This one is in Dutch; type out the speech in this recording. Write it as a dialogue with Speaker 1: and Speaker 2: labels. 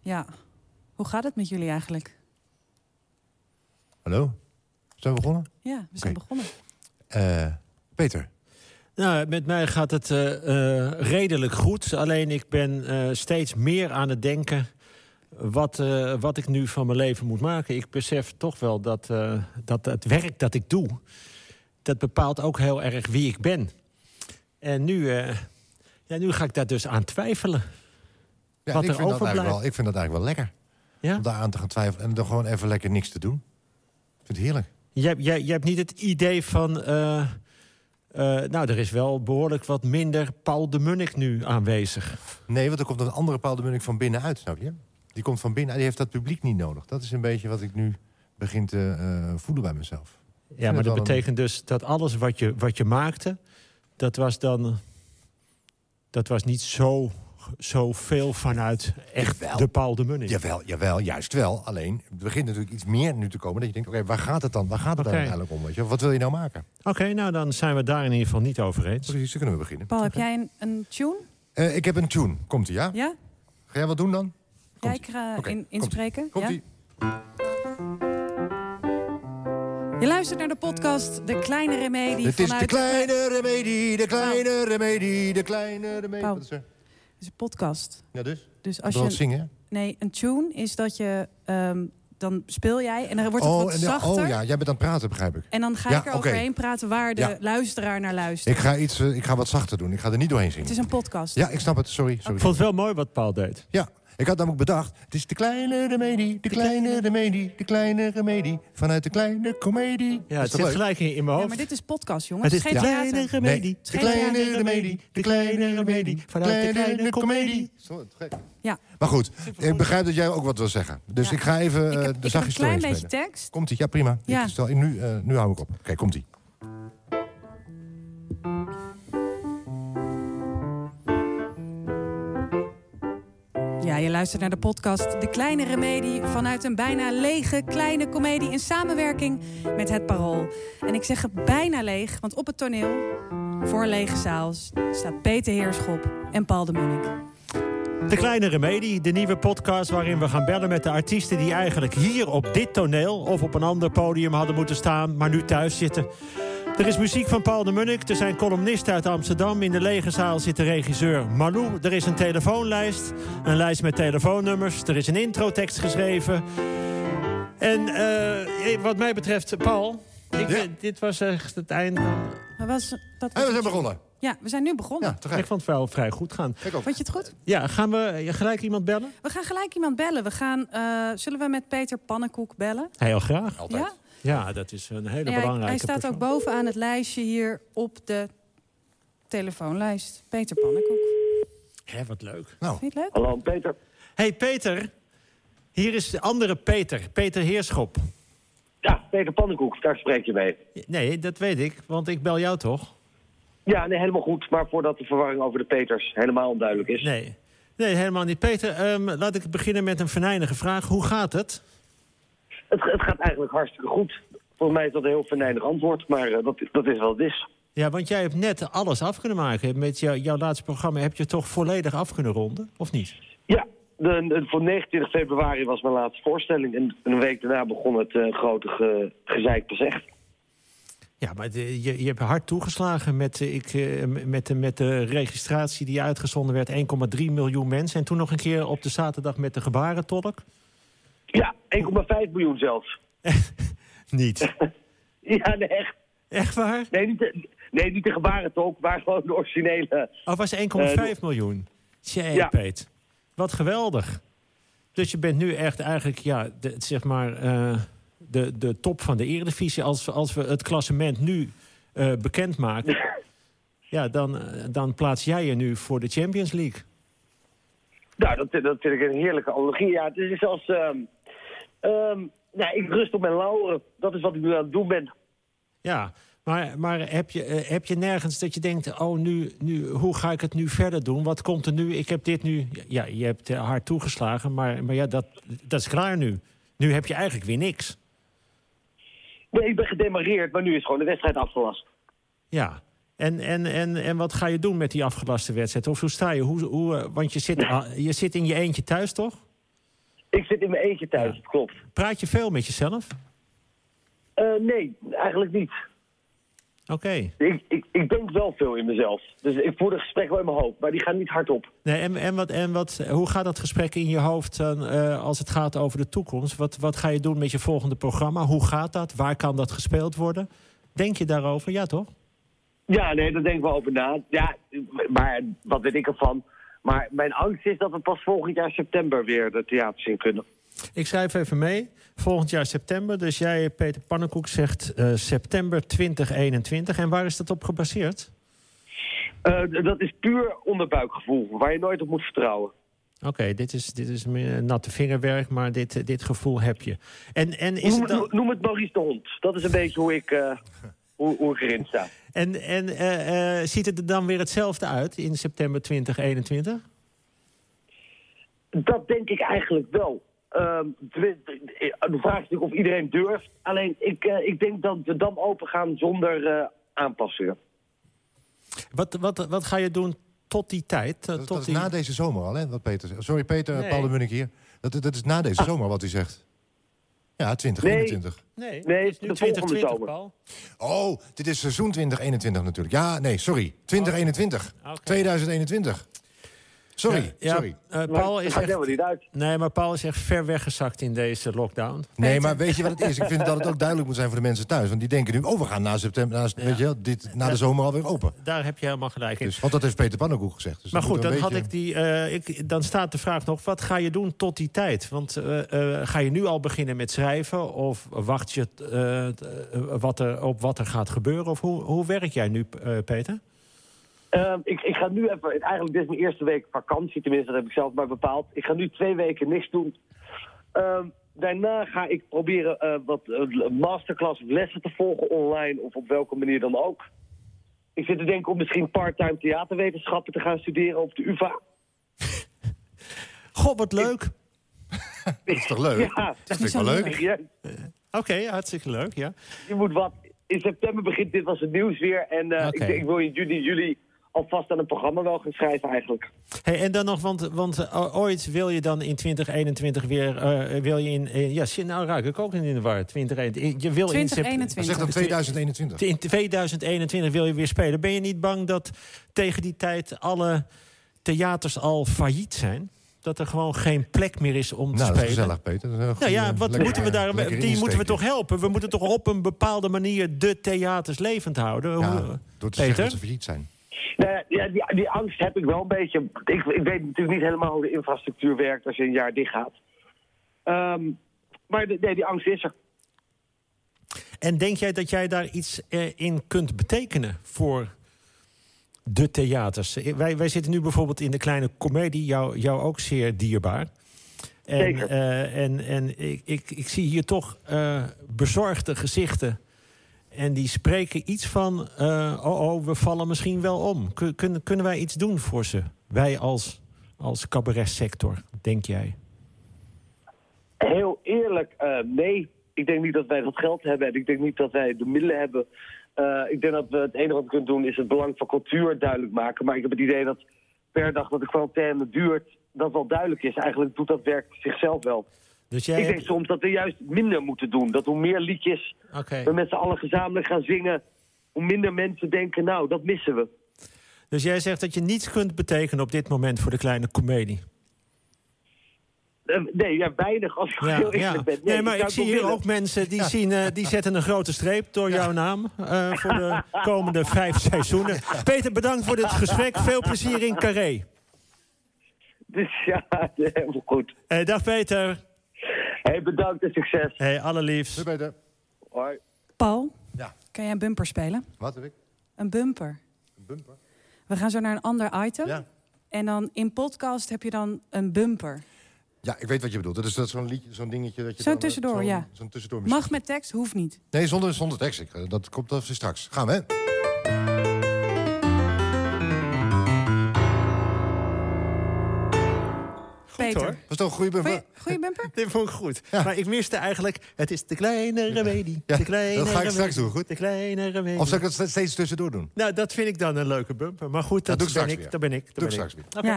Speaker 1: Ja. Hoe gaat het met jullie eigenlijk?
Speaker 2: Hallo? Zijn we begonnen?
Speaker 1: Ja, we zijn
Speaker 2: Oké.
Speaker 1: begonnen.
Speaker 2: Eh, Peter.
Speaker 3: Nou, met mij gaat het eh, eh, redelijk goed. Alleen ik ben eh, steeds meer aan het denken wat, eh, wat ik nu van mijn leven moet maken. Ik besef toch wel dat, eh, dat het werk dat ik doe, dat bepaalt ook heel erg wie ik ben. En nu, eh, ja, nu ga ik daar dus aan twijfelen.
Speaker 2: Ja,
Speaker 3: Wat
Speaker 2: ik,
Speaker 3: er
Speaker 2: vind dat
Speaker 3: overblijft.
Speaker 2: eigenlijk wel, ik vind dat eigenlijk wel lekker.
Speaker 3: Ja?
Speaker 2: Om daar aan te gaan twijfelen en dan gewoon even lekker niks te doen. Ik vind het heerlijk.
Speaker 3: Jij, jij, jij hebt niet het idee van. eh, eh, nou, er is wel behoorlijk wat minder Paul de Munnik nu aanwezig.
Speaker 2: Nee, want er komt een andere Paul de Munnik van binnenuit, snap je? Die komt van binnen, die heeft dat publiek niet nodig. Dat is een beetje wat ik nu begin te eh, voelen bij mezelf.
Speaker 3: Ja, maar
Speaker 2: het
Speaker 3: dat
Speaker 2: wel een-
Speaker 3: betekent dus dat alles wat je, wat je maakte, dat was dan. Dat was niet zo, zo veel vanuit echt
Speaker 2: Jawel.
Speaker 3: de Paul de Munnik.
Speaker 2: Jawel, jawel, juist wel. Alleen, het begint natuurlijk iets meer nu te komen. Dat je denkt, oké, waar gaat het dan? Waar gaat het dan
Speaker 3: Oké.
Speaker 2: uiteindelijk om? Weet je? wel? Wat wil je nou maken?
Speaker 3: Oké, nou dan zijn we daar in ieder geval niet over eens.
Speaker 2: Precies, dan kunnen we beginnen.
Speaker 1: Paul, heb jij een, een tune?
Speaker 2: Eh, ik heb een tune. Komt-ie, ja?
Speaker 1: Ja?
Speaker 2: Ga jij wat doen dan?
Speaker 1: Jij
Speaker 2: Komt-ie.
Speaker 1: ik ga
Speaker 2: Oké,
Speaker 1: in,
Speaker 2: komt-ie.
Speaker 1: inspreken.
Speaker 2: Komt-ie.
Speaker 1: ja? Je luistert naar de podcast De Kleine Remedie
Speaker 2: Het is
Speaker 1: vanuit... Nou.
Speaker 2: de kleine remedie, de kleine remedie, de kleine remedie.
Speaker 1: Pauw.
Speaker 2: Wat is er?
Speaker 1: Het is een podcast.
Speaker 2: Ja, dus?
Speaker 1: Dus
Speaker 2: Als
Speaker 1: als je...
Speaker 2: zingen? hè?
Speaker 1: Nee, een tune is dat je... ehm, dan speel jij en dan wordt het
Speaker 2: oh,
Speaker 1: wat
Speaker 2: en de-
Speaker 1: zachter.
Speaker 2: oh ja, jij bent aan het praten, begrijp ik.
Speaker 1: En dan ga
Speaker 2: Ja,
Speaker 1: ik er
Speaker 2: oké.
Speaker 1: overheen praten waar de
Speaker 2: Ja.
Speaker 1: luisteraar naar luistert.
Speaker 2: Ik ga, iets, eh, ik ga wat zachter doen. Ik ga er niet doorheen
Speaker 1: Het
Speaker 2: zingen.
Speaker 1: is een podcast.
Speaker 2: Ja, ik snap het. Sorry. sorry.
Speaker 3: Ik vond het wel mooi wat Paul deed.
Speaker 2: Ja, ik had namelijk bedacht. Het is de kleine remedie, de kleine remedie, de kleine remedie. Vanuit de kleine komedie. Is
Speaker 3: Ja,
Speaker 2: toch
Speaker 3: het zit
Speaker 2: leuk?
Speaker 3: gelijk in in mijn
Speaker 1: Ja,
Speaker 3: hoofd.
Speaker 1: maar dit is podcast, jongens.
Speaker 3: het is de
Speaker 1: geen
Speaker 3: kleine
Speaker 1: theater.
Speaker 3: remedie.
Speaker 2: Nee, de kleine remedie, de kleine remedie. Vanuit de kleine komedie.
Speaker 1: Ja.
Speaker 2: Maar goed, ik begrijp dat jij ook wat wil zeggen. Dus
Speaker 1: Ja.
Speaker 2: ik ga even
Speaker 1: Ik heb,
Speaker 2: eh, de
Speaker 1: ik heb een
Speaker 2: zachtjes
Speaker 1: klein
Speaker 2: doorheen
Speaker 1: beetje
Speaker 2: spelen.
Speaker 1: tekst.
Speaker 2: Komt-ie? Ja, prima.
Speaker 1: Ja.
Speaker 2: Ik stel, ik nu, eh, nu hou ik op. Oké, komt-ie.
Speaker 1: Ja, je luistert naar de podcast De Kleine Remedie vanuit een bijna lege kleine komedie in samenwerking met Het Parool. En ik zeg het bijna leeg, want op het toneel, voor een lege zaal, staat Peter Heerschop en Paul de Munnik.
Speaker 3: De Kleine Remedie, de nieuwe podcast waarin we gaan bellen met de artiesten die eigenlijk hier op dit toneel of op een ander podium hadden moeten staan, maar nu thuis zitten. Er is muziek van Paul de Munnik, er zijn columnisten uit Amsterdam. In de lege zaal zit de regisseur Malou. Er is een telefoonlijst, een lijst met telefoonnummers. Er is een introtekst geschreven. En eh, eh, wat mij betreft, Paul, ik,
Speaker 2: Ja.
Speaker 3: eh, dit was echt het einde.
Speaker 1: Maar was, dat
Speaker 2: En we zijn begonnen.
Speaker 1: Ja, we zijn nu begonnen.
Speaker 2: Ja, te
Speaker 3: Ik
Speaker 2: gek.
Speaker 3: vond het wel vrij goed gaan.
Speaker 2: Kijk ook.
Speaker 1: Vond je het goed?
Speaker 3: Ja, gaan we eh, gelijk iemand bellen?
Speaker 1: We gaan gelijk iemand bellen. We gaan, eh, zullen we met Peter Pannenkoek bellen?
Speaker 3: Heel graag.
Speaker 2: Altijd.
Speaker 1: Ja?
Speaker 3: Ja, dat is een hele
Speaker 1: Ja, hij-
Speaker 3: belangrijke
Speaker 1: hij staat ook
Speaker 3: persoon.
Speaker 1: bovenaan het lijstje hier op de telefoonlijst. Peter Pannenkoek.
Speaker 3: Hé, wat leuk.
Speaker 2: Nou,
Speaker 1: Vind je
Speaker 3: Oh,
Speaker 1: het leuk?
Speaker 4: Hallo Peter.
Speaker 3: hey, Peter. Hier is de andere Peter. Peter Heerschop.
Speaker 4: Ja, Peter Pannenkoek, daar spreek je mee.
Speaker 3: Nee, dat weet ik, want ik bel jou toch?
Speaker 4: Ja, nee, helemaal goed. Maar voordat de verwarring over de Peters helemaal onduidelijk is.
Speaker 3: Nee. Nee, helemaal niet. Peter, ehm, laat ik beginnen met een venijnige vraag. Hoe gaat het?
Speaker 4: Het, het gaat eigenlijk hartstikke goed. Volgens mij is dat een heel venijnig antwoord, maar eh, dat, dat is wat het is.
Speaker 3: Ja, want jij hebt net alles af kunnen maken. Met jou, jouw laatste programma heb je toch volledig af kunnen ronden, of niet?
Speaker 4: Ja, de, de- voor 29 februari was mijn laatste voorstelling. En een week daarna begon het eh, grote ge, gezeik gezegd.
Speaker 3: Ja, maar de- je, je hebt hard toegeslagen met, eh, ik, eh, m- met, de- met de registratie die uitgezonden werd. 1,3 miljoen mensen. En toen nog een keer op de zaterdag met de gebarentolk.
Speaker 4: Ja, 1,5 miljoen zelfs.
Speaker 3: Niet.
Speaker 4: Ja, nee, echt.
Speaker 3: Echt waar?
Speaker 4: Nee, niet de, nee, niet de gebarentolk, maar gewoon de originele.
Speaker 3: Oh, was 1,5 miljoen. Tjee,
Speaker 4: Ja.
Speaker 3: Peet. Wat geweldig. Dus je bent nu echt eigenlijk, ja, de, zeg maar, eh, de, de top van de eredivisie. Als, we- als we het klassement nu eh bekendmaken, ja, dan, eh, dan plaats jij je nu voor de Champions League.
Speaker 4: Nou, dat, dat vind ik een heerlijke analogie. Ja, het is als... ehm, ehm, nou, ik rust op mijn lauren. Dat is wat ik nu aan het doen ben.
Speaker 3: Ja, maar, maar heb, je, eh, heb je nergens dat je denkt... oh, nu, nu, hoe ga ik het nu verder doen? Wat komt er nu? Ik heb dit nu... Ja, je hebt eh, hard toegeslagen, maar, maar ja, dat, dat is klaar nu. Nu heb je eigenlijk weer niks.
Speaker 4: Nee, ik ben gedemareerd, maar nu is gewoon de wedstrijd afgelast.
Speaker 3: Ja. En, en, en, en wat ga je doen met die afgelaste wedstrijd? Of hoe sta je? Hoe, hoe, eh, want je zit, ah, je zit in je eentje thuis, toch?
Speaker 4: Ik zit in mijn eentje thuis,
Speaker 3: Ja.
Speaker 4: dat klopt.
Speaker 3: Praat je veel met jezelf?
Speaker 4: Eh, nee, eigenlijk niet.
Speaker 3: Oké.
Speaker 4: Ik, ik, ik denk wel veel in mezelf. Dus ik voer een gesprek wel in mijn hoofd, maar die gaan niet hardop.
Speaker 3: Nee, en en, wat, en wat, hoe gaat dat gesprek in je hoofd dan, eh, als het gaat over de toekomst? Wat, wat ga je doen met je volgende programma? Hoe gaat dat? Waar kan dat gespeeld worden? Denk je daarover? Ja, toch?
Speaker 4: Ja, nee, daar denk ik wel over na. Ja, maar wat weet ik ervan? Maar mijn angst is dat we pas volgend jaar september weer de theaters in kunnen.
Speaker 3: Ik schrijf even mee. Volgend jaar september. Dus jij, Peter Pannenkoek, zegt eh, september 2021. En waar is dat op gebaseerd?
Speaker 4: Eh, d- dat is puur onderbuikgevoel, waar je nooit op moet vertrouwen.
Speaker 3: Oké, dit is, dit is meer natte vingerwerk, maar dit, eh, dit gevoel heb je. En, en is
Speaker 4: Noem,
Speaker 3: het dan...
Speaker 4: noem- noem het Maurice de Hond. Dat is een beetje hoe ik, eh, hoe, hoe ik erin sta.
Speaker 3: En, en eh, eh, ziet het er dan weer hetzelfde uit in september 2021?
Speaker 4: Dat denk ik eigenlijk wel. Ehm, twi- eh, de vraag is natuurlijk of iedereen durft. Alleen ik, eh, ik denk dat de dam open gaan zonder eh, aanpassingen.
Speaker 3: Wat, wat, wat ga je doen tot die tijd? Eh,
Speaker 2: Dat,
Speaker 3: tot
Speaker 2: dat is
Speaker 3: die...
Speaker 2: na deze zomer al, hè, wat Peter zegt. Sorry, Peter,
Speaker 3: Nee. Ah.
Speaker 2: Paul de Munnik hier. Dat, dat is na deze zomer wat hij zegt. Ja, 2021.
Speaker 3: Nee,
Speaker 4: Nee,
Speaker 3: het is nu
Speaker 4: de volgende
Speaker 3: 2020,
Speaker 4: zomer.
Speaker 3: Paul.
Speaker 2: Oh, dit is seizoen 2021 natuurlijk. Ja, nee, sorry. 2021.
Speaker 3: Oh, Oké.
Speaker 2: 2021. Sorry,
Speaker 3: Ja,
Speaker 2: sorry.
Speaker 3: eh, Paul
Speaker 4: Maar
Speaker 3: is
Speaker 4: het gaat
Speaker 3: echt...
Speaker 4: helemaal niet uit.
Speaker 3: Nee, maar Paul is echt ver weggezakt in deze lockdown.
Speaker 2: Nee, maar weet je wat het is? Ik vind dat het ook duidelijk moet zijn voor de mensen thuis. Want die denken nu, oh, we gaan na september, na, weet je, wel, dit, na de zomer alweer open.
Speaker 3: Daar heb je helemaal gelijk in.
Speaker 2: Dus, want dat heeft Peter Pannenkoek gezegd. Dus
Speaker 3: maar
Speaker 2: dat
Speaker 3: goed,
Speaker 2: moet
Speaker 3: dan,
Speaker 2: een
Speaker 3: had
Speaker 2: beetje-
Speaker 3: ik die, eh, ik, dan staat de vraag nog, wat ga je doen tot die tijd? Want eh, eh, ga je nu al beginnen met schrijven? Of wacht je eh, t- eh, wat er, op wat er gaat gebeuren? Of hoe, hoe werk jij nu, eh, Peter?
Speaker 4: Ehm, ik, ik ga nu even, eigenlijk dit is mijn eerste week vakantie, tenminste dat heb ik zelf maar bepaald. Ik ga nu twee weken niks doen. Ehm, daarna ga ik proberen eh, wat eh, masterclass of lessen te volgen online of op welke manier dan ook. Ik zit te denken om misschien part-time theaterwetenschappen te gaan studeren op de UvA.
Speaker 3: God, wat leuk. Oké,
Speaker 2: Dat is toch leuk?
Speaker 4: Ja,
Speaker 2: dat vind ik wel leuk.
Speaker 4: serieus.
Speaker 3: hartstikke leuk, ja.
Speaker 4: je moet wat. In september begint dit was het nieuws weer. En eh,
Speaker 3: Oké.
Speaker 4: ik, denk, ik wil in juni, juli alvast aan een programma wel gaan schrijven eigenlijk.
Speaker 3: Hey, en dan nog, want, want eh, ooit wil je dan in 2021 weer... eh, wil je in, eh, ja, shit, nou raak ik ook in de war. 2021. Je wil in sept-
Speaker 1: 2021.
Speaker 2: Zeg dan 2021.
Speaker 3: In 2021 wil je weer spelen. Ben je niet bang dat tegen die tijd alle theaters al failliet zijn? Dat er gewoon geen plek meer is om te
Speaker 2: Nou, dat is
Speaker 3: spelen?
Speaker 2: gezellig, Peter. Dat is een
Speaker 3: Nou ja,
Speaker 2: goede-
Speaker 3: wat
Speaker 2: lekker-
Speaker 3: moeten we daar,
Speaker 2: lekker
Speaker 3: die moeten we
Speaker 2: insteken.
Speaker 3: toch helpen? We moeten toch op een bepaalde manier de theaters levend houden? Hoe-
Speaker 2: Ja, door te zeggen
Speaker 3: Peter?
Speaker 2: dat ze failliet zijn.
Speaker 4: Nou ja, ja, die, die angst heb ik wel een beetje. Ik, ik weet natuurlijk niet helemaal hoe de infrastructuur werkt als je een jaar dicht gaat. Ehm, maar de- nee, die angst is er.
Speaker 3: En denk jij dat jij daar iets eh, in kunt betekenen voor de theaters? Eh, Wij, wij zitten nu bijvoorbeeld in de kleine comedie, jou, jou ook zeer dierbaar. En,
Speaker 4: Zeker.
Speaker 3: eh, en, en ik, ik, ik zie hier toch eh, bezorgde gezichten. En die spreken iets van: eh, oh, oh, we vallen misschien wel om. Kun- kunnen- kunnen wij iets doen voor ze? Wij als, als cabaretsector, denk jij?
Speaker 4: Heel eerlijk, eh, nee. Ik denk niet dat wij dat geld hebben en ik denk niet dat wij de middelen hebben. Eh, ik denk dat we het enige wat we kunnen doen is het belang van cultuur duidelijk maken. Maar ik heb het idee dat per dag dat de quarantaine duurt, dat wel duidelijk is. Eigenlijk doet dat werk zichzelf wel.
Speaker 3: Dus jij
Speaker 4: Ik denk
Speaker 3: hebt-
Speaker 4: soms dat we juist minder moeten doen. Dat hoe meer liedjes
Speaker 3: Oké.
Speaker 4: we met z'n allen gezamenlijk gaan zingen, hoe minder mensen denken, nou, dat missen we.
Speaker 3: Dus jij zegt dat je niets kunt betekenen op dit moment voor de kleine comedie.
Speaker 4: Eh, nee, ja, weinig als ik heel eerlijk ben.
Speaker 3: Nee, maar ik zie hier ook mensen die, zien, eh, die zetten een grote streep door jouw naam eh, voor de komende vijf seizoenen. Peter, bedankt voor dit gesprek. Veel plezier in Carré.
Speaker 4: Dus ja, helemaal goed.
Speaker 3: Eh, dag Peter.
Speaker 4: Hey, bedankt en succes.
Speaker 3: Hey, allerliefst.
Speaker 2: Doei, Peter.
Speaker 4: Hoi.
Speaker 1: Paul,
Speaker 2: Ja,
Speaker 1: kan jij een bumper spelen?
Speaker 2: wat heb ik?
Speaker 1: Een bumper.
Speaker 2: Een bumper?
Speaker 1: We gaan zo naar een ander item.
Speaker 2: Ja.
Speaker 1: En dan in podcast heb je dan een bumper.
Speaker 2: Ja, ik weet wat je bedoelt. Dat is dat zo'n liedje, zo'n dingetje. dat je
Speaker 1: Zo'n
Speaker 2: dan, eh,
Speaker 1: tussendoor,
Speaker 2: zo'n-
Speaker 1: ja.
Speaker 2: Zo'n tussendoor muziek.
Speaker 1: Mag met tekst, hoeft niet.
Speaker 2: Nee, zonder, zonder tekst. Ik, eh, dat komt dat straks. Gaan we, hè?
Speaker 1: Peter.
Speaker 3: hoor.
Speaker 2: Was toch een goede bumper?
Speaker 1: Goeie, goeie bumper?
Speaker 3: Dit vond ik goed. Maar ik miste eigenlijk, het is de kleine remedie.
Speaker 2: Ja,
Speaker 3: de kleine
Speaker 2: dat ga ik
Speaker 3: remedie,
Speaker 2: straks doen, goed?
Speaker 3: De kleine remedie.
Speaker 2: Of zal ik dat steeds tussendoor doen?
Speaker 3: Nou, dat vind ik dan een leuke bumper. Maar goed, dat,
Speaker 2: doe ik
Speaker 3: ben,
Speaker 2: straks
Speaker 3: ik,
Speaker 2: weer.
Speaker 3: dat ben ik. Dat
Speaker 2: Doe ik
Speaker 3: ben
Speaker 2: straks weer.
Speaker 1: Ja.